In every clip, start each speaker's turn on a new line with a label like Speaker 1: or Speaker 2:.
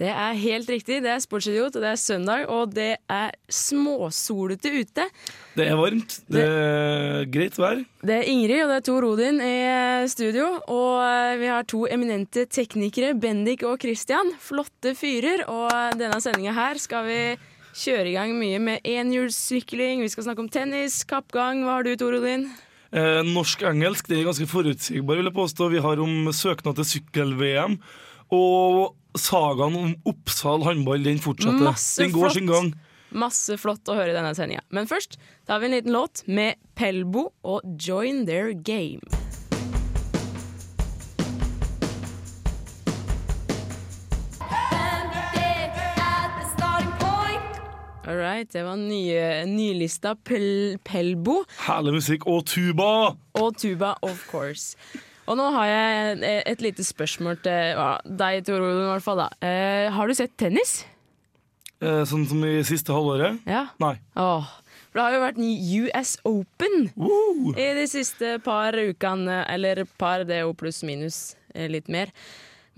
Speaker 1: Det er helt riktig. Det er sportsidiot, og det er søndag, og det er småsolete ute.
Speaker 2: Det er varmt. Det er greit vær.
Speaker 1: Det er Ingrid og det er Tor Odin i eh, studio. Og eh, vi har to eminente teknikere, Bendik og Christian. Flotte fyrer. Og eh, denne sendinga her skal vi kjøre i gang mye med enhjulssykling, vi skal snakke om tennis, kappgang. Hva har du, Tor Odin?
Speaker 2: Eh, Norsk-engelsk det er ganske forutsigbar, vil jeg påstå. Vi har om søknad til sykkel-VM. Og sagaen om Oppsal håndball, den fortsetter.
Speaker 1: Masse
Speaker 2: den går
Speaker 1: flott.
Speaker 2: sin gang.
Speaker 1: Masse flott å høre i denne sendinga. Men først tar vi en liten låt med Pelbo og 'Join Their Game'. All right, det var nye, nylista Pel Pelbo
Speaker 2: Herlig musikk. Og tuba!
Speaker 1: og tuba, of course. Og nå har jeg et, et lite spørsmål til ja, deg, Tor Odin, i hvert fall. da. Eh, har du sett tennis?
Speaker 2: Eh, sånn som i siste halvåret.
Speaker 1: Ja.
Speaker 2: Nei.
Speaker 1: Åh, for det har jo vært ny US Open
Speaker 2: Woo!
Speaker 1: i de siste par ukene. Eller par, det er jo pluss minus eh, litt mer.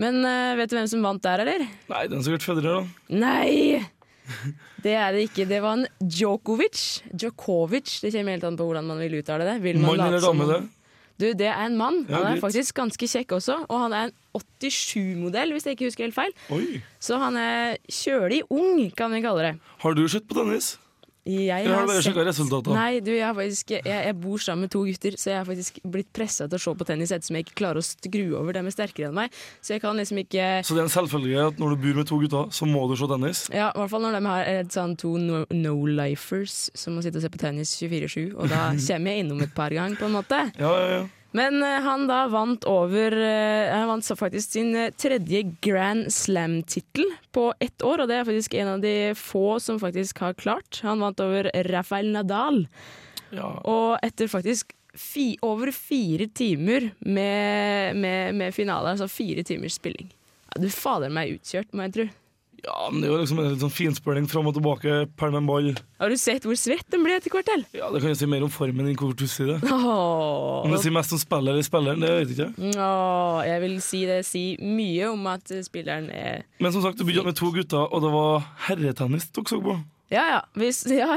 Speaker 1: Men eh, vet du hvem som vant der, eller?
Speaker 2: Nei, den er sikkert Federer, da.
Speaker 1: Nei! Det er det ikke. Det var en Djokovic. Djokovic. Det kommer helt an på hvordan man vil uttale det. Vil man
Speaker 2: Mann
Speaker 1: late
Speaker 2: eller
Speaker 1: som
Speaker 2: dame, det.
Speaker 1: man- Du, det er en mann.
Speaker 2: Ja,
Speaker 1: han er
Speaker 2: greit.
Speaker 1: faktisk ganske kjekk også. Og han er en 87-modell, hvis jeg ikke husker helt feil.
Speaker 2: Oi.
Speaker 1: Så han er kjølig ung, kan vi kalle det.
Speaker 2: Har du sett på tennis?
Speaker 1: Jeg
Speaker 2: Eller har
Speaker 1: har
Speaker 2: du bare
Speaker 1: sett-
Speaker 2: sjekka resultatene?
Speaker 1: Nei, du, jeg, har faktisk, jeg, jeg bor sammen med to gutter, så jeg har faktisk blitt pressa til å se på tennis ettersom jeg ikke klarer å skru over dem er sterkere enn meg. Så jeg kan liksom ikke
Speaker 2: Så det er en selvfølge at når du bor med to gutter, så må du se tennis?
Speaker 1: ja, I hvert fall når de har et sånn to no- no-lifers som må sitte og se på tennis 24-7. Og da kommer jeg innom et par ganger, på en måte.
Speaker 2: Ja, ja, ja.
Speaker 1: Men eh, han da vant over eh, Han vant så faktisk sin eh, tredje Grand Slam-tittel på ett år, og det er faktisk en av de få som faktisk har klart. Han vant over Rafael Nadal.
Speaker 2: ja.
Speaker 1: Og etter faktisk fi, over fire timer med, med, med finale, altså fire timers spilling ja, Du fader meg utkjørt, må jeg tro.
Speaker 2: Ja, men det er jo liksom en litt sånn finspilling fram og tilbake, pælm en ball.
Speaker 1: Har du sett hvor svett den ble etter hvert? eller?
Speaker 2: Ja, Det kan jo si mer om formen enn hvor du sier det.
Speaker 1: Åh.
Speaker 2: Men det sier mest om spiller i spilleren, det vet jeg ikke.
Speaker 1: Åh, jeg vil si det sier mye om at eh, spilleren er
Speaker 2: Men som sagt, du begynte med to gutter, og det var herretennis dere så på.
Speaker 1: Ja ja, hvis Ja,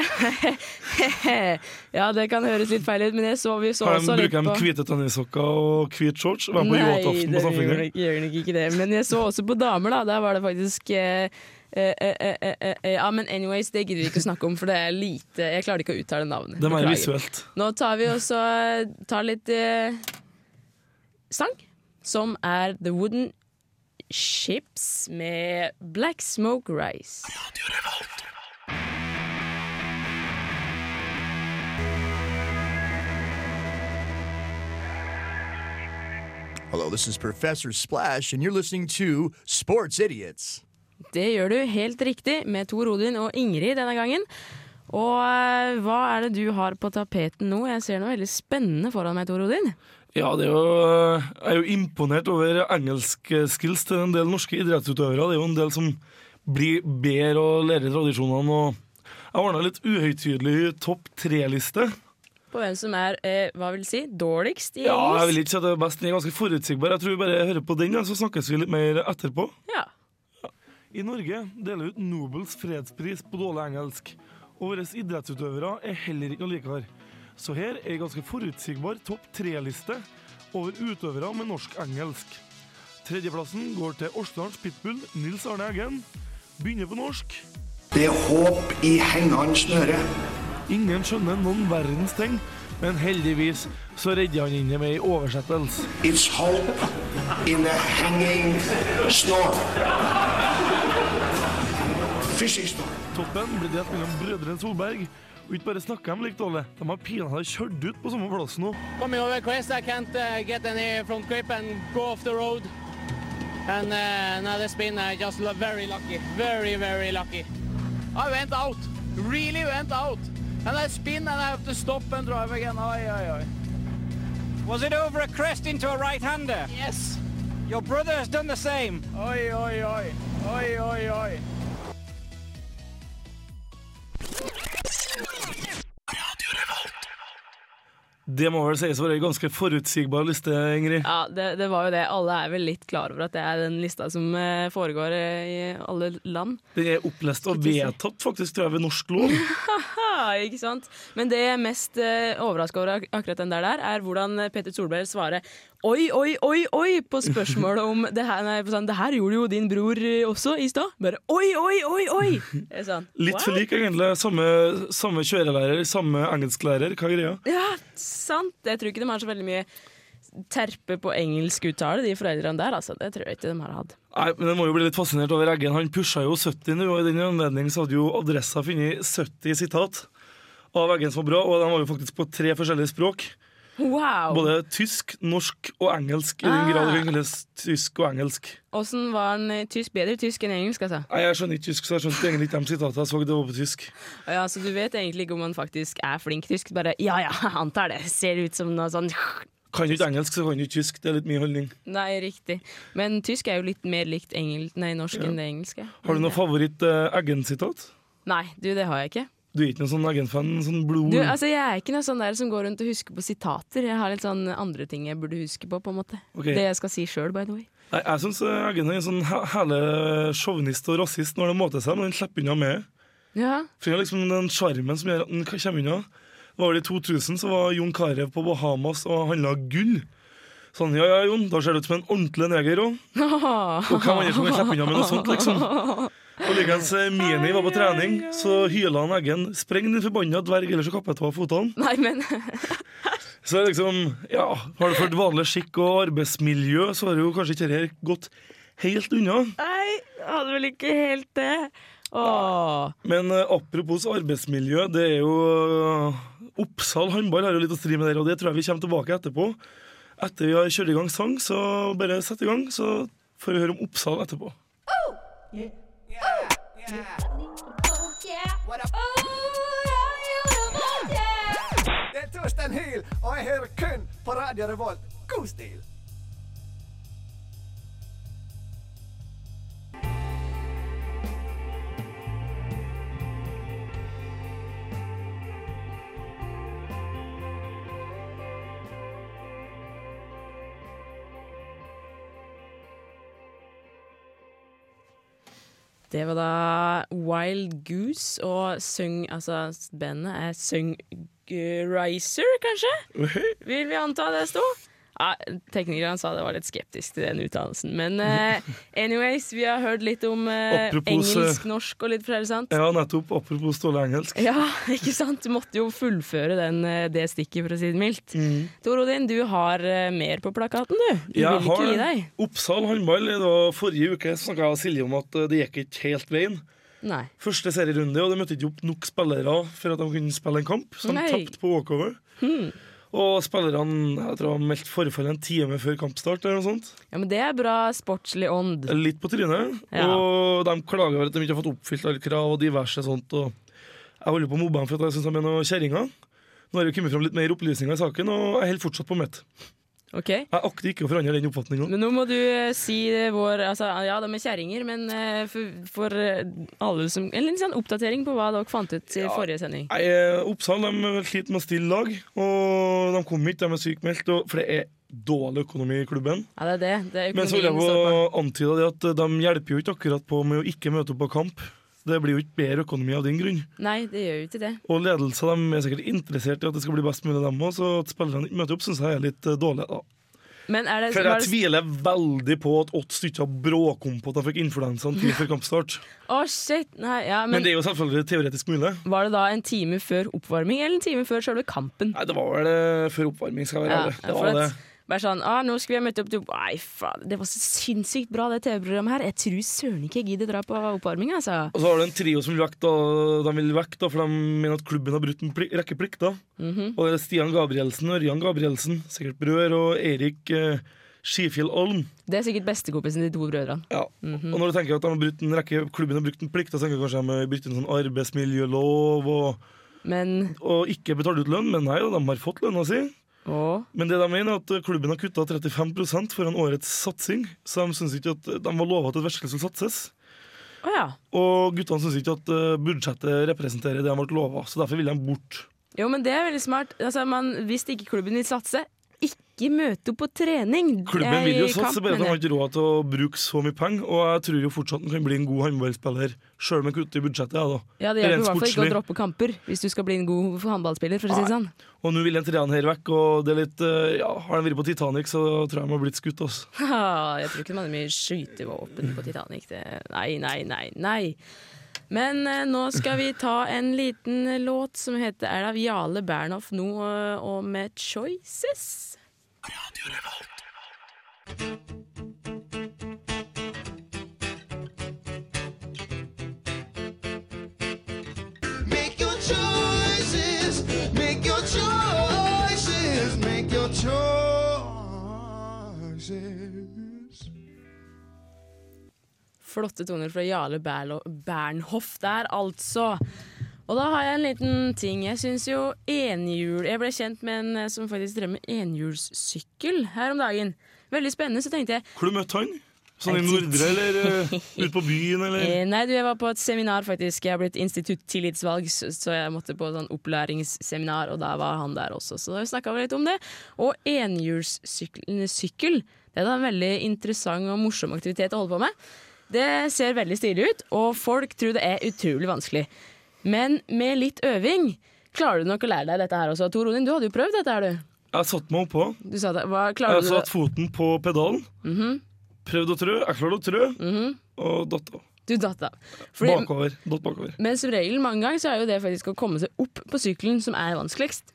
Speaker 1: ja det kan høres litt feil ut, men jeg så, vi så
Speaker 2: Her
Speaker 1: også litt
Speaker 2: bruker de
Speaker 1: på
Speaker 2: hvite tennissokker og hvit shorts. Var på
Speaker 1: Nei,
Speaker 2: yachtaften
Speaker 1: det
Speaker 2: på
Speaker 1: gjør
Speaker 2: Samfunnet.
Speaker 1: nok, gjør nok ikke det. Men jeg så også på damer, da. Der var det faktisk eh, eh, eh, eh, eh, eh, Ja, men anyways, det gidder vi ikke å snakke om, for det er lite Jeg klarer ikke å uttale navnet.
Speaker 2: Det er mer
Speaker 1: Beklager.
Speaker 2: visuelt.
Speaker 1: Nå tar vi også tar litt eh, sang, som er The Wooden Ships med Black Smoke Rise.
Speaker 3: Hello, this is Professor Splash, and you're listening to Sports Idiots.
Speaker 1: Det gjør du helt riktig med Tor Odin og Ingrid denne gangen. Og eh, hva er det du har på tapeten nå? Jeg ser noe veldig spennende foran meg, Tor Odin.
Speaker 2: Ja, det er jo, jeg er jo imponert over engelskskills til en del norske idrettsutøvere. Det er jo en del som blir bedre og lærer tradisjonene. Og jeg ordna litt uhøytidelig topp tre-liste.
Speaker 1: På hvem som er, eh, hva vil si, dårligst i
Speaker 2: Ja, jeg
Speaker 1: engelsk.
Speaker 2: vil ikke si at det er best. Den er ganske forutsigbar. Jeg tror vi bare hører på den, ja, så snakkes vi litt mer etterpå.
Speaker 1: Ja.
Speaker 2: I Norge deler ut Nobels fredspris på dårlig engelsk. Og våre idrettsutøvere er heller ikke noe likere. Så her er en ganske forutsigbar topp tre-liste over utøvere med norsk-engelsk. Tredjeplassen går til Åsdalens pitbull Nils Arne Eggen. Begynner på norsk.
Speaker 4: Det er håp i hengende snøre.
Speaker 2: Ingen skjønner noen verdens ting, men heldigvis så redder han inne med ei oversettelse.
Speaker 4: It's hope in a hanging snore. Fishing snore.
Speaker 2: Toppen ble delt mellom brødrene Solberg. Og ikke bare snakker de likt, Ole. De har pinadø kjørt ut på samme plass nå.
Speaker 5: Eh, Coming over crest, I can't uh, get any front grip and go off the road. And uh, and uh, has been uh, just lo- very lucky, very, very lucky. I went out, really went out. And I spin and I have to stop and drive again. Aye, aye, aye. Was it over a crest into a right-hander? Yes. Your brother has done the same. Oi, oi, oi. Oi, oi, oi.
Speaker 2: Det må vel sies å være en ganske forutsigbar liste, Ingrid.
Speaker 1: Ja, det, det var jo det. Alle er vel litt klar over at det er den lista som eh, foregår eh, i alle land.
Speaker 2: Den er opplest og
Speaker 1: Skulle
Speaker 2: vedtatt, faktisk, tror jeg, ved norsk lov.
Speaker 1: Ja, ikke sant? Men det jeg er mest uh, overraska over ak akkurat den der, der, er hvordan Peter Solberg svarer oi, oi, oi, oi på spørsmålet om det her, nei, på sånn, det her gjorde jo din bror eh, også i stad. Bare oi, oi, oi, oi! Jeg er Sånn,
Speaker 2: Litt for
Speaker 1: «What?»
Speaker 2: lik, egentlig. Samme, samme kjørelærer, samme engelsklærer. Hva er greia?
Speaker 1: Ja, sant. Jeg tror ikke de har så veldig mye terpe på engelskuttale, de foreldrene der. Altså. Det tror jeg ikke de har hatt.
Speaker 2: Nei, men Jeg må jo bli litt fascinert over Eggen. Han pusha jo 70 nå, og i den anledning så hadde jo Adressa funnet 70 sitat av Eggen som var bra, og de var jo faktisk på tre forskjellige språk.
Speaker 1: Wow!
Speaker 2: Både tysk, norsk og engelsk, i den grad det kan kalles tysk og engelsk.
Speaker 1: Åssen var han i tysk? Bedre tysk enn engelsk, altså?
Speaker 2: Nei, Jeg skjønner ikke tysk, så jeg skjønte egentlig ikke de sitatene jeg så det var på tysk.
Speaker 1: Ja, så du vet egentlig ikke om han faktisk er flink tysk. Bare ja ja, jeg antar det. Ser ut som noe sånn
Speaker 2: Kan du ikke engelsk, så kan du ikke tysk. Det er litt min holdning.
Speaker 1: Nei, riktig. Men tysk er jo litt mer likt engel... nei, norsk enn det engelske.
Speaker 2: Har du noe favoritt-Eggen-sitat?
Speaker 1: Nei, du, det har jeg ikke.
Speaker 2: Du er ikke noen sånn Eggen-fan? Sånn blod...
Speaker 1: Du, altså, jeg er ikke noe sånn der som går rundt og husker på sitater. Jeg har litt sånn andre ting jeg burde huske på, på en måte.
Speaker 2: Ok.
Speaker 1: Det jeg skal si sjøl, by the way.
Speaker 2: Nei, jeg syns Eggen er en sånn he- hele sjåvinist og rasist når det måter seg, men han slipper unna med.
Speaker 1: Ja.
Speaker 2: For det er liksom den sjarmen som gjør at den kommer unna. Det var vel i 2000 så var Jon Carew på Bahamas og handla gull. Sånn, ja ja, Jon, da ser du ut som en ordentlig neger òg. Og hvem andre som kan slippe unna med noe sånt, liksom? Og likeens eh, Mini var på trening, så hyla han Eggen. Spreng din forbanna dverg, ellers så kapper jeg av fotene.
Speaker 1: Nei, men
Speaker 2: Så det er liksom, ja, har du ført vanlig skikk og arbeidsmiljø, så har jo kanskje ikke dette gått helt unna.
Speaker 1: Nei, jeg hadde vel ikke helt det. Åh.
Speaker 2: Men eh, apropos arbeidsmiljø, det er jo eh, Oppsal håndball har jo litt å stri med der, og det tror jeg vi kommer tilbake etterpå. Etter vi har kjørt i gang sang, så bare sett i gang, så får vi høre om Oppsal etterpå.
Speaker 4: Det er Torsten Hyl, og jeg hører kun på Radio Revolt. God stil!
Speaker 1: Det var da Wild Goose og Sung Altså, bandet er Sung Riser, kanskje? Vil vi anta det sto? Ja, Teknikeren sa det var litt skeptisk til den utdannelsen. Men eh, anyways, vi har hørt litt om eh,
Speaker 2: Apropos, eh,
Speaker 1: engelsk, norsk og litt forskjellig, sant?
Speaker 2: Ja, nettopp. Apropos Ståle Engelsk.
Speaker 1: Ja, ikke sant? Du måtte jo fullføre den, eh, det stikket, for å si det mildt.
Speaker 2: Mm.
Speaker 1: Tor Odin, du har eh, mer på plakaten, du. Du vil ikke gi deg.
Speaker 2: Oppsal håndball. Det var forrige uke snakka jeg og Silje om at eh, det gikk ikke helt veien.
Speaker 1: Nei.
Speaker 2: Første serierunde, og de møtte ikke opp nok spillere for at de kunne spille en kamp, så de
Speaker 1: Nei. Hmm.
Speaker 2: tapte på walkover. Og spillerne jeg tror, har meldt forfall en time før kampstart. eller noe sånt.
Speaker 1: Ja, men det er bra sportslig ånd.
Speaker 2: Litt på trynet.
Speaker 1: Mm. Ja.
Speaker 2: Og de klager over at de ikke har fått oppfylt alle krav og diverse sånt. Og jeg holder på å mobbe dem for at jeg syns de er noen kjerringer. Nå har det jo kommet fram litt mer opplysninger i saken, og jeg holder fortsatt på mitt.
Speaker 1: Ok?
Speaker 2: Jeg akter ikke å forandre den oppfatninga.
Speaker 1: Men nå må du eh, si eh, vår altså, Ja, de er kjerringer, men eh, for, for eh, alle som En liten sånn oppdatering på hva dere fant ut i forrige sending.
Speaker 2: Nei, eh, Oppsal de sliter med å stille lag, og de kommer ikke, de er sykmeldt. og- For det er dårlig økonomi i klubben.
Speaker 1: Ja, det er det. det er
Speaker 2: Men så vil jeg
Speaker 1: økonomien står på.
Speaker 2: jo antyde det at de hjelper jo ikke akkurat på med å ikke møte opp på kamp. Det blir jo ikke bedre økonomi av den grunn.
Speaker 1: Nei, det gjør jo ikke det.
Speaker 2: Og ledelsen de er sikkert interessert i at det skal bli best mulig, dem òg. Så at spillerne ikke møter opp, syns jeg er litt eh, dårlig. da.
Speaker 1: Men er det,
Speaker 2: For
Speaker 1: var
Speaker 2: jeg
Speaker 1: det
Speaker 2: tviler veldig på at åtte stykker bråkom på at de fikk influensa en time før kampstart.
Speaker 1: Å, shit! Nei, ja,
Speaker 2: Men
Speaker 1: men
Speaker 2: det er jo selvfølgelig teoretisk mulig.
Speaker 1: var det da en time før oppvarming, eller en time før selve kampen?
Speaker 2: Nei, det var vel eh, før oppvarming, skal jeg være
Speaker 1: Ja,
Speaker 2: ærlig. Det
Speaker 1: for
Speaker 2: var det.
Speaker 1: at, bare sånn ah, 'Nå skulle jeg møte opp til Nei, faen, det var så sinnssykt bra, det TV-programmet her. Jeg tror søren ikke jeg gidder dra på oppvarming, altså.
Speaker 2: Og så har du en trio som vil vekk, da, de vil vekk da, for de mener at klubben har brutt en plik, rekke Mhm. plikter. Og det er Stian Gabrielsen, Ørjan Gabrielsen, sikkert brødre, og Erik eh, Skifjell Olm.
Speaker 1: Det er sikkert bestekompisen til de to brødrene.
Speaker 2: Ja.
Speaker 1: Mhm.
Speaker 2: Og når du tenker at de har brutt en rekke, klubben har brukt en plikt, da tenker jeg kanskje de har brutt en sånn arbeidsmiljølov og,
Speaker 1: Men
Speaker 2: og ikke betalt ut lønn, men nei, da, de har fått lønna si.
Speaker 1: å,
Speaker 2: Men det de mener er at klubben har kutta 35 foran årets satsing, så de syns ikke at de var lova at et verksted skulle satses.
Speaker 1: å ja.
Speaker 2: Og guttene syns ikke at eh, budsjettet representerer det de ble lova, så derfor vil de bort.
Speaker 1: Jo, men det er veldig smart. Altså, man, hvis ikke klubben vil satse, ikke møte opp på trening.
Speaker 2: Klubben
Speaker 1: Eh,
Speaker 2: vil jo
Speaker 1: i
Speaker 2: satse,
Speaker 1: kamp,
Speaker 2: bare at de
Speaker 1: mener
Speaker 2: har
Speaker 1: jeg.
Speaker 2: ikke råd til å bruke så mye penger. Og jeg tror jo fortsatt han kan bli en god håndballspiller, sjøl om han kutter i budsjettet. Ja, da.
Speaker 1: Ja, det hjelper i
Speaker 2: Rent
Speaker 1: hvert fall ikke å
Speaker 2: sportslig.
Speaker 1: droppe kamper hvis du skal bli en god håndballspiller, for å si det sånn.
Speaker 2: Og nå vil den treeren her vekk, og det er litt eh, Ja, har han vært på Titanic, så tror jeg han har blitt skutt, altså.
Speaker 1: Ah, jeg tror ikke man har mye skytevåpen på Titanic. Det. Nei, nei, nei, nei. Men eh, nå skal vi ta en liten låt som heter Er det av Jale Bernhoff nå, eh, og med 'Choices'.
Speaker 6: Make your choices. Make your choices. Make your choices.
Speaker 1: Flotte toner fra Jale Berlo Bernhoff der, altså. Og da har jeg en liten ting. Jeg syns jo enhjul Jeg ble kjent med en eh, som faktisk drev med enhjulssykkel her om dagen. Veldig spennende, så tenkte jeg
Speaker 2: Hvor du møtte han? Sånn i
Speaker 1: En titt.
Speaker 2: Nordre, eller eh, ute på byen, eller?
Speaker 1: Eh, Nei, du, jeg var på et seminar faktisk. Jeg har blitt instituttillitsvalg, så så jeg måtte på sånn opplæringsseminar, og da var han der også. Så da snakka vi litt om det. Og enhjulssykkel sykkel, det er da en veldig interessant og morsom aktivitet å holde på med. Det ser veldig stilig ut, og folk tror det er utrolig vanskelig. Men med litt øving klarer du nok å lære deg dette her også. Tor Odin, du hadde jo prøvd dette her, du.
Speaker 2: Jeg satte meg oppå.
Speaker 1: Du sa det. Hva klarer
Speaker 2: Jeg
Speaker 1: du? Mhm.
Speaker 2: satte foten på pedalen. Prøvde å trø. Jeg klarte å trø, og datt av.
Speaker 1: Du datt av. Fordi-
Speaker 2: Bakover. Datt bakover.
Speaker 1: Men som regel mange ganger så er jo det faktisk å komme seg opp på sykkelen som er vanskeligst.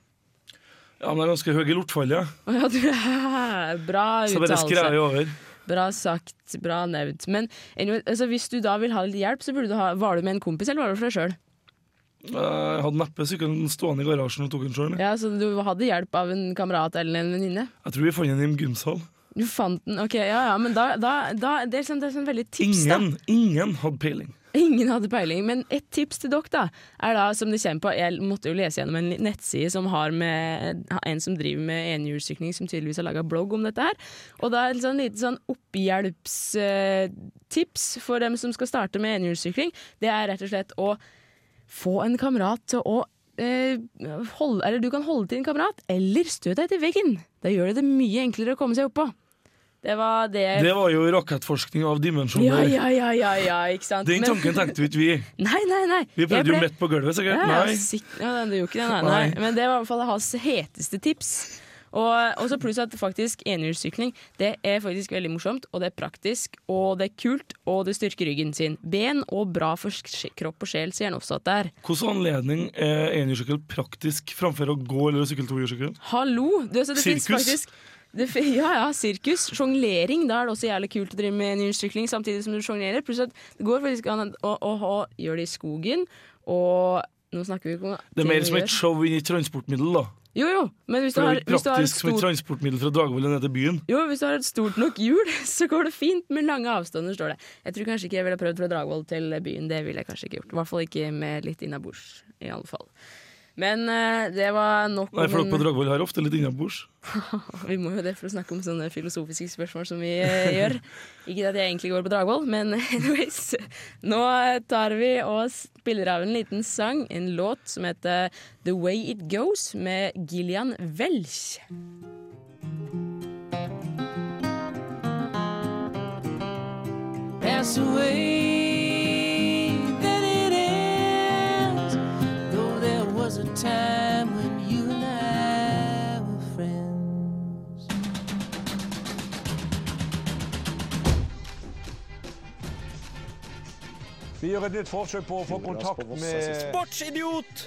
Speaker 2: Ja, men jeg er ganske høy i lortfallet.
Speaker 1: Å
Speaker 2: jeg.
Speaker 1: Ja, du, bra
Speaker 2: Så bare skreier jeg
Speaker 1: uttalelse.
Speaker 2: over.
Speaker 1: Bra sagt, bra nevnt. Men anyway, altså, hvis du da vil ha litt hjelp, så burde du ha Var du med en kompis, eller var du for deg sjøl?
Speaker 2: Jeg hadde neppe sykkelen stående i garasjen og tok den sjøl.
Speaker 1: Ja, så du hadde hjelp av en kamerat eller en venninne?
Speaker 2: Jeg tror vi fant den i en gymsal.
Speaker 1: Du fant den, OK, ja ja, men da, da, da Det er sånn, det er sånn veldig tips, da.
Speaker 2: Ingen, ingen hadde peiling.
Speaker 1: Ingen hadde peiling, men et tips til dere da, er da, som det kommer på, jeg måtte jo lese gjennom en nettside som har med en som driver med enhjulssykling, som tydeligvis har laget blogg om dette her, og da er det sånn lite sånn opphjelpstips for dem som skal starte med enhjulssykling, det er rett og slett å få en kamerat til å eh, holde, eller du kan holde til en kamerat, eller stø deg til veggen. Da gjør det det mye enklere å komme seg opp på. Det var det...
Speaker 2: Det var jo rakettforskning av dimensjoner.
Speaker 1: Eh. ja, ja, ja, ja, ja, ikke sant?
Speaker 2: Den
Speaker 1: Men-
Speaker 2: tanken tenkte vi ikke vi.
Speaker 1: Nei, nei, nei.
Speaker 2: Vi
Speaker 1: Jeg
Speaker 2: prøvde jo
Speaker 1: ble-
Speaker 2: midt på gulvet, sikkert.
Speaker 1: ja, ja,
Speaker 2: Nei.
Speaker 1: sikk- Ja, det gjorde ikke det, nei, nei.
Speaker 2: Nei.
Speaker 1: Men det var i hvert fall hans heteste tips. Og, og så pluss at faktisk enhjulssykling Det er faktisk veldig morsomt, og det er praktisk, og det er kult, og det styrker ryggen sin. Ben og bra for sk- kropp og sjel, sier han også at det er.
Speaker 2: Hvilken anledning er enhjulssykkel praktisk framfor å gå eller sykle tohjulssykkel?
Speaker 1: Hallo! Du, altså, det fins
Speaker 2: Sirkus.
Speaker 1: faktisk det, fi- ja, ja, sirkus. Sjonglering. Da er det også jævlig kult å drive med enhjulssykling samtidig som du sjonglerer. Pluss at det går faktisk an å, å, å gjøre det i skogen, og nå snakker vi ikke om
Speaker 2: Det er
Speaker 1: ting
Speaker 2: mer
Speaker 1: vi
Speaker 2: som
Speaker 1: gjør.
Speaker 2: et show inn i et transportmiddel, da.
Speaker 1: Jo, jo, men hvis du
Speaker 2: For det
Speaker 1: har,
Speaker 2: er jo
Speaker 1: hvis du har et
Speaker 2: praktisk som et
Speaker 1: stort
Speaker 2: transportmiddel fra Dragvoll og ned til byen.
Speaker 1: Jo, hvis du har et stort nok hjul, så går det fint med lange avstander, står det. Jeg tror kanskje ikke jeg ville prøvd fra Dragvoll til byen, det ville jeg kanskje ikke gjort. I hvert fall ikke med litt innabords, i alle fall. Men eh, det var nok
Speaker 2: Nei, folk
Speaker 1: om
Speaker 2: på
Speaker 1: en-
Speaker 2: Dragvoll har ofte litt innabords.
Speaker 1: Vi må jo det for å snakke om sånne filosofiske spørsmål som vi eh, gjør. Ikke at jeg egentlig går på Dragvoll, men anyways. Nå tar vi og spiller av en liten sang, en låt som heter The Way It Goes med Gillian Welch.
Speaker 5: That's the way that it ends. Though there was a time when you and I were friends.
Speaker 7: Vi gjør et nytt forsøk på å få kontakt med
Speaker 5: Sportsidiot!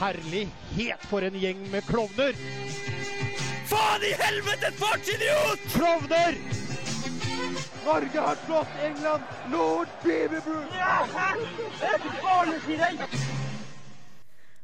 Speaker 6: Herlighet for en gjeng med klovner!
Speaker 8: Norge har slått England! Lord Beaverbrook!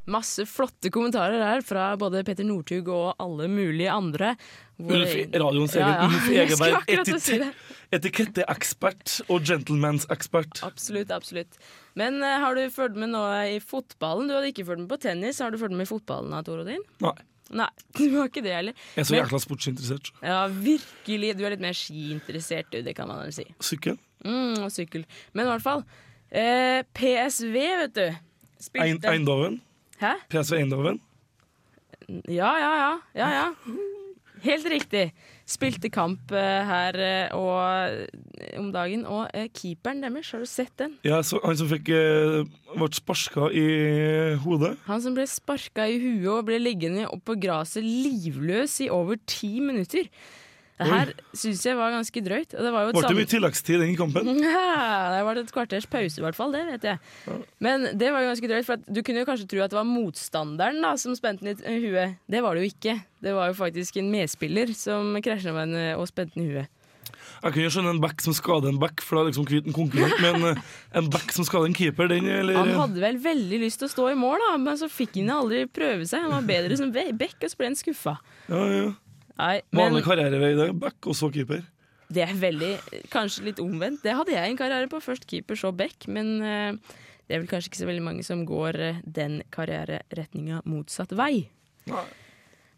Speaker 1: Masse flotte kommentarer her fra både Petter Northug og alle mulige andre. Hvor-
Speaker 2: Ulf, radioens egen
Speaker 1: Ja, ja.
Speaker 2: Ulf
Speaker 1: Jeg skulle
Speaker 2: Egeberg,
Speaker 1: akkurat til å si
Speaker 2: etikette-
Speaker 1: det.
Speaker 2: etiketteekspert og gentlemansekspert.
Speaker 1: Absolutt, absolutt. Men eh, har du fulgt med nå i fotballen? Du hadde ikke fulgt med på tennis. Har du fulgt med i fotballen da, Toro din?
Speaker 2: Nei,
Speaker 1: Nei, du har ikke det heller.
Speaker 2: jeg er så
Speaker 1: Men-
Speaker 2: jækla sportsinteressert.
Speaker 1: Ja, virkelig. Du er litt mer skiinteressert, du. Det kan man vel si.
Speaker 2: Sykkel.
Speaker 1: Mm, og sykkel. Men i hvert fall. Eh, PSV, vet du.
Speaker 2: Ein-
Speaker 1: Spilte
Speaker 2: Eindhoven.
Speaker 1: Hæ?
Speaker 2: PSV Eindhoven.
Speaker 1: Ja, ja, ja. ja, ja. Helt riktig. Spilte kamp eh, her eh, og, om dagen, og eh, keeperen deres, har du sett den?
Speaker 2: Ja, så han som fikk eh, ble sparka i hodet.
Speaker 1: Han som ble sparka i huet og ble liggende opp på gresset livløs i over ti minutter. Det her syns jeg var ganske drøyt. Og det var jo et
Speaker 2: Ble det
Speaker 1: sam-
Speaker 2: mye tilleggstid i den kampen?
Speaker 1: Ja, det var et kvarters pause i hvert fall, det vet jeg. Men det var jo ganske drøyt, for at du kunne jo kanskje tro at det var motstanderen da, som spente den i t- huet. Det var det jo ikke. Det var jo faktisk en medspiller som krasja med henne og spente den i huet.
Speaker 2: Jeg kunne jo skjønne en back som skader en back, for da er liksom kvitt en konkurrent, men eh, en back som skader en keeper, den eller
Speaker 1: Han hadde vel veldig lyst til å stå i mål, da, men så fikk han aldri prøve seg. Han var bedre som be- back, og så ble han skuffa.
Speaker 2: ja, ja.
Speaker 1: Nei, men
Speaker 2: Vanlig karrierevei, det. Back og så keeper.
Speaker 1: det er veldig Kanskje litt omvendt. Det hadde jeg en karriere på. Først keeper, så back. Men eh, det er vel kanskje ikke så veldig mange som går eh, den karriereretninga motsatt vei.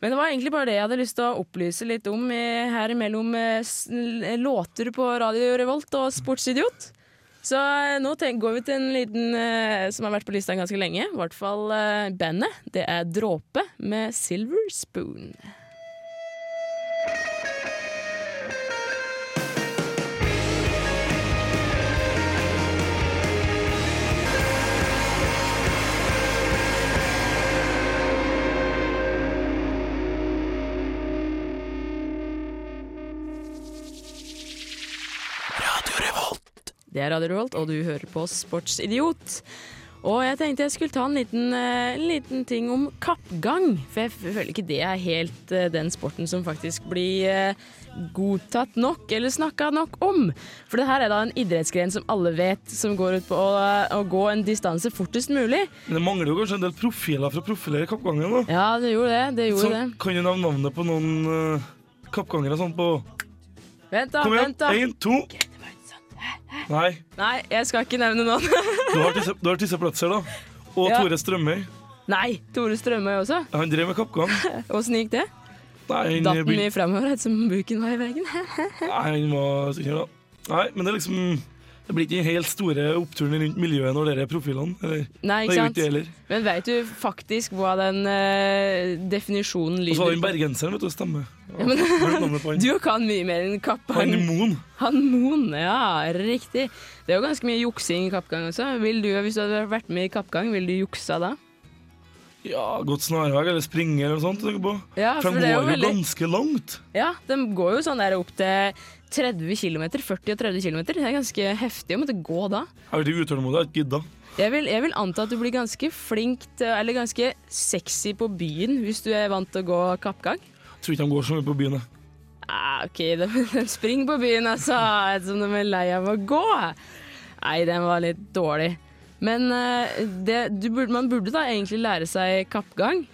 Speaker 1: Men det var egentlig bare det jeg hadde lyst til å opplyse litt om eh, her mellom eh, s- l- låter på Radio Revolt og Sportsidiot. Så eh, nå tenk, går vi til en liten eh, som har vært på lista ganske lenge. I hvert fall eh, bandet. Det er Dråpe med Silver Spoon. Det er Radio Revolt, og du hører på Sportsidiot. Og jeg tenkte jeg skulle ta en liten, eh, liten ting om kappgang. For jeg f- føler ikke det er helt eh, den sporten som faktisk blir eh, godtatt nok, eller snakka nok om. For det her er da en idrettsgren som alle vet, som går ut på å, eh, å gå en distanse fortest mulig.
Speaker 2: Men det mangler jo kanskje en del profiler fra profiler i kappgangen, da.
Speaker 1: Ja, det gjorde det. Det
Speaker 2: Så
Speaker 1: gjorde det.
Speaker 2: kan du nevne navnet på noen eh, kappgangere sånn på
Speaker 1: Vent, da.
Speaker 2: Kom igjen,
Speaker 1: vent da.
Speaker 2: én, to Nei,
Speaker 1: Nei, jeg skal ikke nevne noen.
Speaker 2: du har disse- du har disse plasser, da. Og
Speaker 1: Ja.
Speaker 2: Tore Strømøy.
Speaker 1: Nei, Tore Strømøy også.
Speaker 2: Han drev med kappgang.
Speaker 1: Åssen gikk det?
Speaker 2: Nei, han,
Speaker 1: Datt den mye framover ettersom buken var i veggen?
Speaker 2: nei, han var sikker, da. Nei, men det er liksom Det blir ikke den helt store oppturen rundt miljøet når dere er profilene. Eller,
Speaker 1: Nei,
Speaker 2: det
Speaker 1: ikke
Speaker 2: er jo
Speaker 1: sant?
Speaker 2: ikke det heller.
Speaker 1: Men veit du faktisk hva den eh, definisjonen
Speaker 2: Og så har
Speaker 1: lyder?
Speaker 2: den bergenseren, vet du, stemme. Ja, glemt navnet på han.
Speaker 1: Du kan mye mer enn
Speaker 2: Han
Speaker 1: kappgang.
Speaker 2: Moen.
Speaker 1: Han Moen, ja, riktig. Det er jo ganske mye juksing i kappgang også. Vil du, hvis du hadde vært med i kappgang, ville du juksa da?
Speaker 2: Ja, gått snarvei eller springe eller noe sånt. tenker jeg på.
Speaker 1: Ja,
Speaker 2: For
Speaker 1: for
Speaker 2: han
Speaker 1: det er jo
Speaker 2: går jo
Speaker 1: veldig-
Speaker 2: ganske langt.
Speaker 1: Ja, de går jo sånn der opp til 30 km, 40 og 30 km. Det er ganske heftig å måtte gå da.
Speaker 2: Jeg har vært utålmodig, jeg har ikke gidda.
Speaker 1: Jeg vil, jeg vil anta at du blir ganske flink til, eller ganske sexy på byen hvis du er vant til å gå kappgang.
Speaker 2: Jeg Tror ikke han går så mye på byen. jeg.
Speaker 1: Ah, OK, de, de springer på byen, altså. Som de er lei av å gå. Nei, den var litt dårlig. Men eh, det, du burde, man burde da egentlig lære seg kappgang.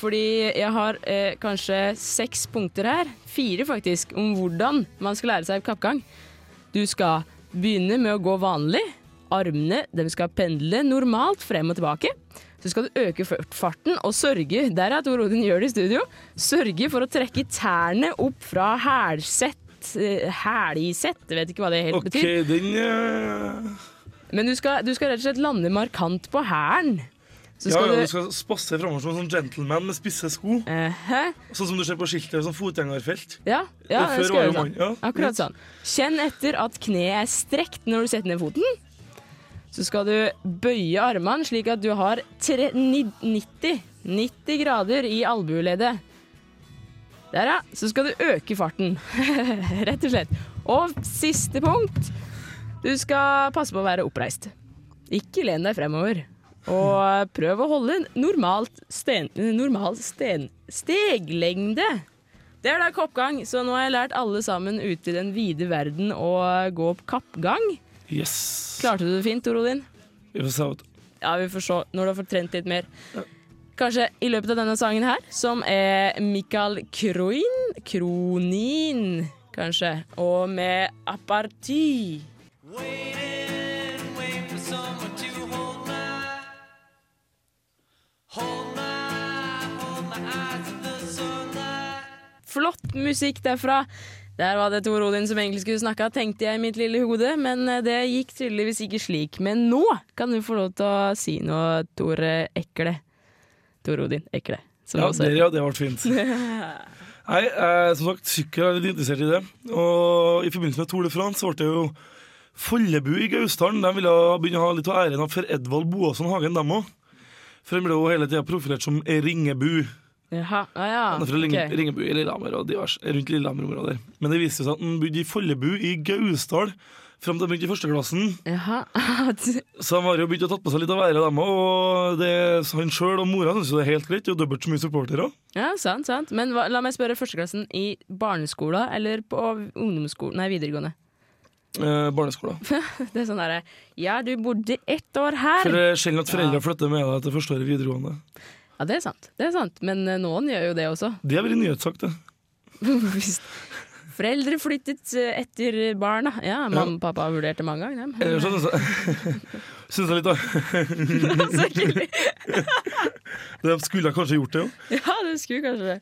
Speaker 1: Fordi jeg har eh, kanskje seks punkter her, fire faktisk, om hvordan man skal lære seg kappgang. Du skal begynne med å gå vanlig. Armene de skal pendle normalt frem og tilbake. Så skal du øke fart- farten og sørge der er Tor Odin gjør det i studio, sørge for å trekke tærne opp fra hælsett eh, Hælisett, jeg vet ikke hva det helt
Speaker 2: OK,
Speaker 1: betyr.
Speaker 2: den eh,
Speaker 1: Men du skal, du skal rett og slett lande markant på hælen. Så
Speaker 2: Ja,
Speaker 1: skal
Speaker 2: ja, du
Speaker 1: du
Speaker 2: skal spasse framover som en sånn gentleman med spisse sko.
Speaker 1: Eh, hæ?
Speaker 2: Sånn som du ser på skiltet. Sånn fotgjengerfelt.
Speaker 1: Ja, ja det
Speaker 2: Det før
Speaker 1: skal
Speaker 2: var
Speaker 1: gjøre
Speaker 2: jo
Speaker 1: sånn.
Speaker 2: mange, ja.
Speaker 1: Akkurat sånn. Kjenn etter at kneet er strekt når du setter ned foten. Så skal du bøye armene slik at du har tre, ni, 90, 90 grader i albueleddet. Der, ja. Så skal du øke farten. Rett og slett. Og siste punkt. Du skal passe på å være oppreist. Ikke len deg fremover. Og prøv å holde normalt sten, normal sten, steglengde. Det er da kappgang, så nå har jeg lært alle sammen ute i den vide verden å gå opp kappgang.
Speaker 2: Yes.
Speaker 1: Klarte du det fint, Tor Odin?
Speaker 2: Vi får se. vet du.
Speaker 1: Ja, vi får se når du har fått trent litt mer. kanskje i løpet av denne sangen her, som er Mikael Kroin Kronin, kanskje, og med Aparti. Flott musikk derfra. Der var det Tor Odin som egentlig skulle snakke, tenkte jeg i mitt lille hode, men eh, det gikk tydeligvis ikke slik. Men nå kan du få lov til å si noe, Tore Ekle. Tor Odin Ekle. Som
Speaker 2: Ja,
Speaker 1: også
Speaker 2: det,
Speaker 1: er-
Speaker 2: ja, det ble fint. Nei, eh, som sagt, sykkel er litt interessert i det. Og i forbindelse med Tour de France så ble det jo Follebu i Gausdalen. De ville begynne å ha litt av æren av for Edvald Boasson Hagen, dem òg. For de ble jo hele tida profilert som Ringebu.
Speaker 1: Jaha, ah, ja.
Speaker 2: Han er fra Ringe,
Speaker 1: ok.
Speaker 2: Ringebu i Lillehammer og divers, rundt Lillehammer-områder. Men det viste seg at han bodde i Follebu i Gausdal fram til han begynte i førsteklassen.
Speaker 1: Jaha.
Speaker 2: Så han har jo begynt å tatt på seg litt av æra, dem òg. Og det, så han sjøl og mora syns jo det er helt greit. Det er jo dobbelt så mye supportere.
Speaker 1: ja, sant, sant. Men hva, la meg spørre førsteklassen i barneskolen eller på ungdomsskolen, nei, videregående.
Speaker 2: Eh, barneskolen.
Speaker 1: Det er sånn derre Ja, du bodde ett år her.
Speaker 2: For det er sjelden at foreldre flytter med deg til første året i videregående.
Speaker 1: Ja, det er sant. Det er sant. Men eh, noen gjør jo det også.
Speaker 2: Det har vært nyhetssak, det.
Speaker 1: Hvis Foreldre flyttet eh, etter barna. Ja, mamma og pappa vurderte mange ganger dem.
Speaker 2: Ellers sånn, så syns jeg, synes jeg litt av
Speaker 1: Så hyggelig.
Speaker 2: De skulle kanskje gjort det, jo.
Speaker 1: Ja, du skulle kanskje det.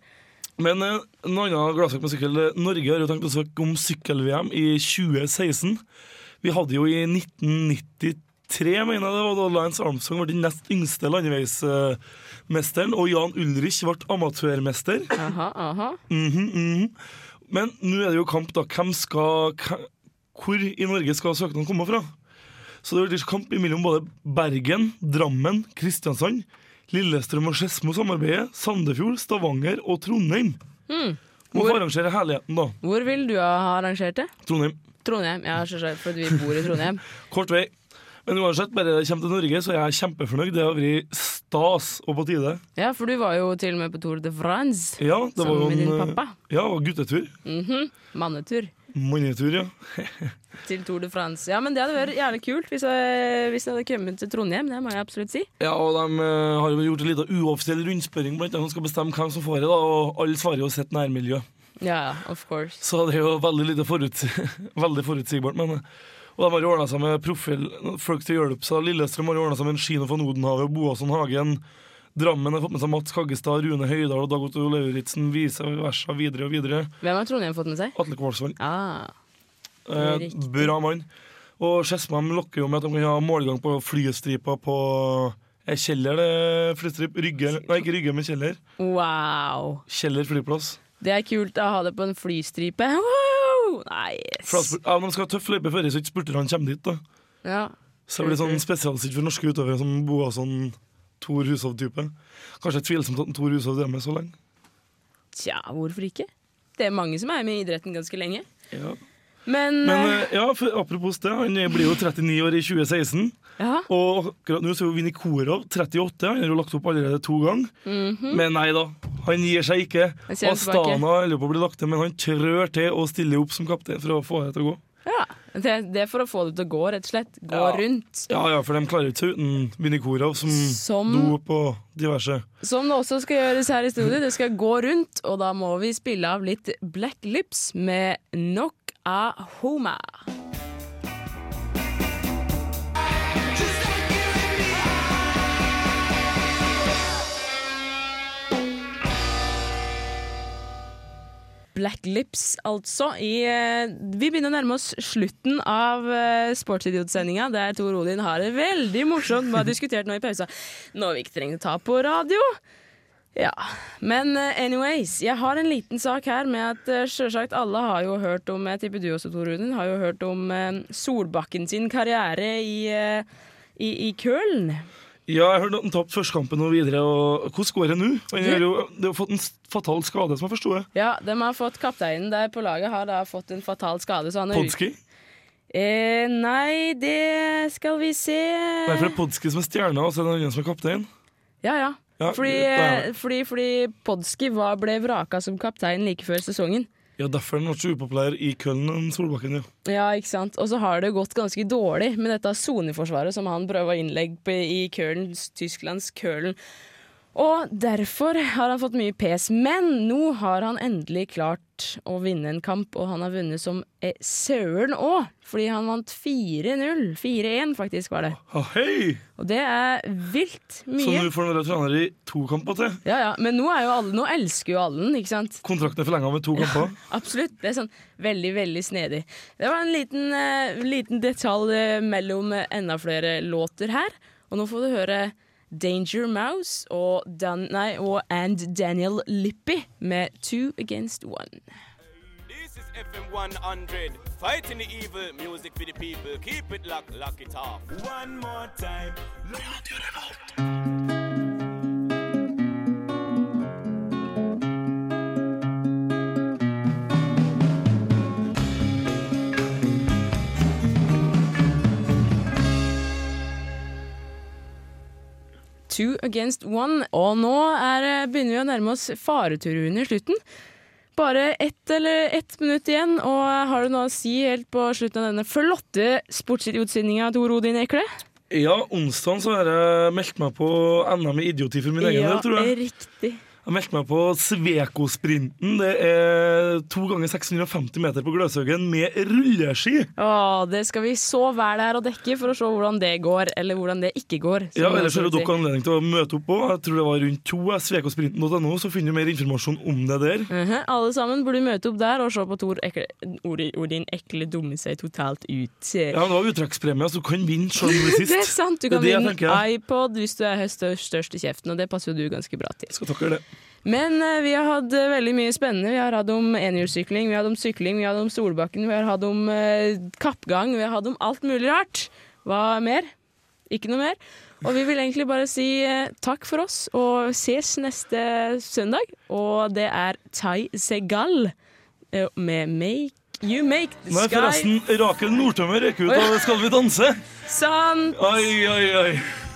Speaker 2: Men eh, en annen gladsak med sykkel eh, Norge har jo tenkt å søke om sykkel-VM i 2016. Vi hadde jo i 1993, mener jeg det var, da Lance Armstrong ble den nest yngste landeveismesteren, og Jan Ulrich ble amatørmester.
Speaker 1: Aha, aha.
Speaker 2: Mhm, mhm. Men nå er det jo kamp, da. Hvem skal hva- Hvor i Norge skal søknaden komme fra? Så det blir kamp mellom både Bergen, Drammen, Kristiansand, Lillestrøm og Skedsmo samarbeidet, Sandefjord, Stavanger og Trondheim.
Speaker 1: Mm.
Speaker 2: Må få arrangere herligheten, da.
Speaker 1: Hvor vil du ha arrangert det?
Speaker 2: Trondheim.
Speaker 1: Trondheim. Ja, selvsagt, fordi vi bor i Trondheim.
Speaker 2: Kort vei. Men uansett, bare det kommer til Norge, så er jeg kjempefornøyd. Det har vært stas og på tide.
Speaker 1: Ja, for du var jo til og med på Tour de France.
Speaker 2: Ja, det var jo
Speaker 1: Sammen med din
Speaker 2: en eh,
Speaker 1: pappa.
Speaker 2: ja, det var guttetur.
Speaker 1: Mannetur
Speaker 2: Mannetur, ja.
Speaker 1: til Tour de France. Ja, men det hadde vært jævlig kult hvis, jeg, hvis det hadde kommet til Trondheim. Det må jeg absolutt si.
Speaker 2: Ja, og de eh, har jo gjort en liten uoffisiell rundspørring blant dem som skal bestemme hvem som får det, da, og alle svarer jo sitt nærmiljø.
Speaker 1: Ja, of course.
Speaker 2: Så det er jo veldig lite foruts veldig forutsigbart, men eh, Og de har jo ordna seg med profil folk til å hjelpe seg. Lillestrøm har jo ordna seg med en Skino von Odenhavet, Boasson Hagen. Drammen har fått med seg Mats Kaggestad, Rune Høydahl og Dag Otto Lauritzen, vice versa videre og videre.
Speaker 1: Hvem har Trondheim fått med seg?
Speaker 2: Atle Kvalsvang.
Speaker 1: Ah,
Speaker 2: Eh,
Speaker 1: Riktig.
Speaker 2: bra mann. Og Skedsmam lokker jo med at de kan ha målgang på flystripa på eh, Kjeller, det flystrip. Rygge, eller- nei, ikke Rygge, men Kjeller.
Speaker 1: wow.
Speaker 2: Kjeller flyplass.
Speaker 1: Det er kult å ha det på en flystripe. Wow!
Speaker 2: For da
Speaker 1: Nice.
Speaker 2: spur- ja, de skal ha tøff løype før så ikke spurterne kommer dit. da
Speaker 1: Ja.
Speaker 2: Så det blir sånn spesialstilt for norske utøvere som boer sånn Tor Hushov-type. Kanskje tvilsomt at Tor Hushov drev med så lenge.
Speaker 1: Tja, hvorfor ikke? Det er mange som er med i idretten ganske lenge.
Speaker 2: Ja.
Speaker 1: Men,
Speaker 2: Men
Speaker 1: eh,
Speaker 2: eh, ja, for, apropos det, han blir jo 39 år i 2016.
Speaker 1: ja.
Speaker 2: Og akkurat nå så er jo Vinni Korov 38. Han har jo lagt opp allerede to ganger. Men nei da, han gir seg ikke.
Speaker 1: Jeg ser Mhm. han tilbake.
Speaker 2: Astana holder på å bli lagt ned, men han trør til og stiller opp som kaptein for å få det til å gå.
Speaker 1: ja. Det, det er for å få det til å gå, rett og slett. Gå
Speaker 2: Ja.
Speaker 1: rundt.
Speaker 2: Ja ja, for de klarer jo ikke seg uten Vinni Korov som,
Speaker 1: Som-
Speaker 2: dop og diverse.
Speaker 1: Som det også skal gjøres her i studio. Det skal gå rundt, og da må vi spille av litt Black Lips med Knock a Homa. Black Lips, altså. I, eh, vi begynner å nærme oss slutten av eh, Sportsidiot-sendinga, der Tor Odin har det veldig morsomt. Vi har diskutert nå i pausa noe vi ikke trenger å ta på radio. Ja, Men eh, anyways, jeg har en liten sak her med at eh, sjølsagt alle har jo hørt om Jeg tipper du også, Tor Odin, har jo hørt om eh, Solbakken sin karriere i, eh, i, i Køln.
Speaker 2: Ja, jeg hørte at han tapte førstekampen og videre. Og hvordan går det nå? Han har jo det har fått en s- fatal skade, som jeg forsto det.
Speaker 1: Ja, de har fått Kapteinen der på laget har da fått en fatal skade, så han er ute.
Speaker 2: Podski.
Speaker 1: Eh, nei, det skal vi se
Speaker 2: Nei, for det er Podski som er stjerna, og så er det den andre som er kaptein.
Speaker 1: Ja, ja.
Speaker 2: Ja,
Speaker 1: Fordi,
Speaker 2: det er-
Speaker 1: eh, fordi, fordi Podski var, ble vraka som kaptein like før sesongen.
Speaker 2: Ja, derfor er han så upopulær i Køln enn Solbakken, ja.
Speaker 1: Ja, ikke sant? Og så har det gått ganske dårlig med dette soneforsvaret som han prøva innlegg på i Køln, Tysklands Køln. Og derfor har han fått mye pes, men nå har han endelig klart å vinne en kamp, og han har vunnet som eh, søren òg, fordi han vant 4-0. 4-1 faktisk var det.
Speaker 2: Ah, hei!
Speaker 1: Og det er vilt
Speaker 2: Så
Speaker 1: mye.
Speaker 2: nå får han være trener i to kamper til.
Speaker 1: Ja, ja, Men nå, er jo alle, nå elsker jo alle den, ikke sant?
Speaker 2: Kontrakten er forlenga med to kamper.
Speaker 1: Absolutt. Det er sånn veldig, veldig snedig. Det var en liten, eh, liten detalj eh, mellom eh, enda flere låter her. Og nå får du høre Danger Mouse og, Dan nei, og And Daniel Lippi med Two Against One.
Speaker 9: This is FM 100, fighting the evil, music for the people. Keep it locked, lock it off. One more time.
Speaker 1: Two Against One. Og nå er, eh, begynner vi å nærme oss fareturen under slutten. Bare ett eller ett minutt igjen, og har du noe å si helt på slutten av denne flotte sportsidiotsendinga, Tor Odin Ekle?
Speaker 2: Ja, onsdag så har jeg meldt meg på NM i idioti for min egen del, tror jeg.
Speaker 1: riktig.
Speaker 2: Jeg meldte meg på Sveko-sprinten. Det er to ganger 650 meter på Gløshaugen med rulleski.
Speaker 1: Å, det skal vi så være der og dekke for å se hvordan det går, eller hvordan det ikke går. som
Speaker 2: Ja,
Speaker 1: man
Speaker 2: Ellers har
Speaker 1: skal
Speaker 2: jo dere
Speaker 1: si.
Speaker 2: anledning til å møte opp òg. Jeg tror det var rundt to. eh, Svekosprinten.no, så finner du mer informasjon om det der.
Speaker 1: Mhm. Alle sammen burde møte opp der og se på Tor Ekle, Ori- Odin Ekle dumme seg totalt ut.
Speaker 2: Ja, men Det var uttrekkspremie, så du kan vinne selv om det sist.
Speaker 1: Det er sant, du
Speaker 2: Det er
Speaker 1: kan
Speaker 2: det jeg
Speaker 1: vinne
Speaker 2: tenker, ja.
Speaker 1: iPod hvis du er stør- størst i kjeften, og det passer jo du ganske bra til.
Speaker 2: Skal takke det.
Speaker 1: Men eh, vi har hatt eh, veldig mye spennende. Vi har hatt om enhjulssykling, vi har hatt om sykling, vi har hatt om Solbakken, vi har hatt om eh, kappgang, vi har hatt om alt mulig rart. Hva mer? Ikke noe mer. Og vi vil egentlig bare si eh, takk for oss og ses neste søndag. Og det er Tai Segal eh, med Make You Make the
Speaker 2: Nei,
Speaker 1: Sky
Speaker 2: forresten, Rakel Nordtømmer røk ut av Skal vi danse.
Speaker 1: Sant!
Speaker 2: Oi, oi, oi.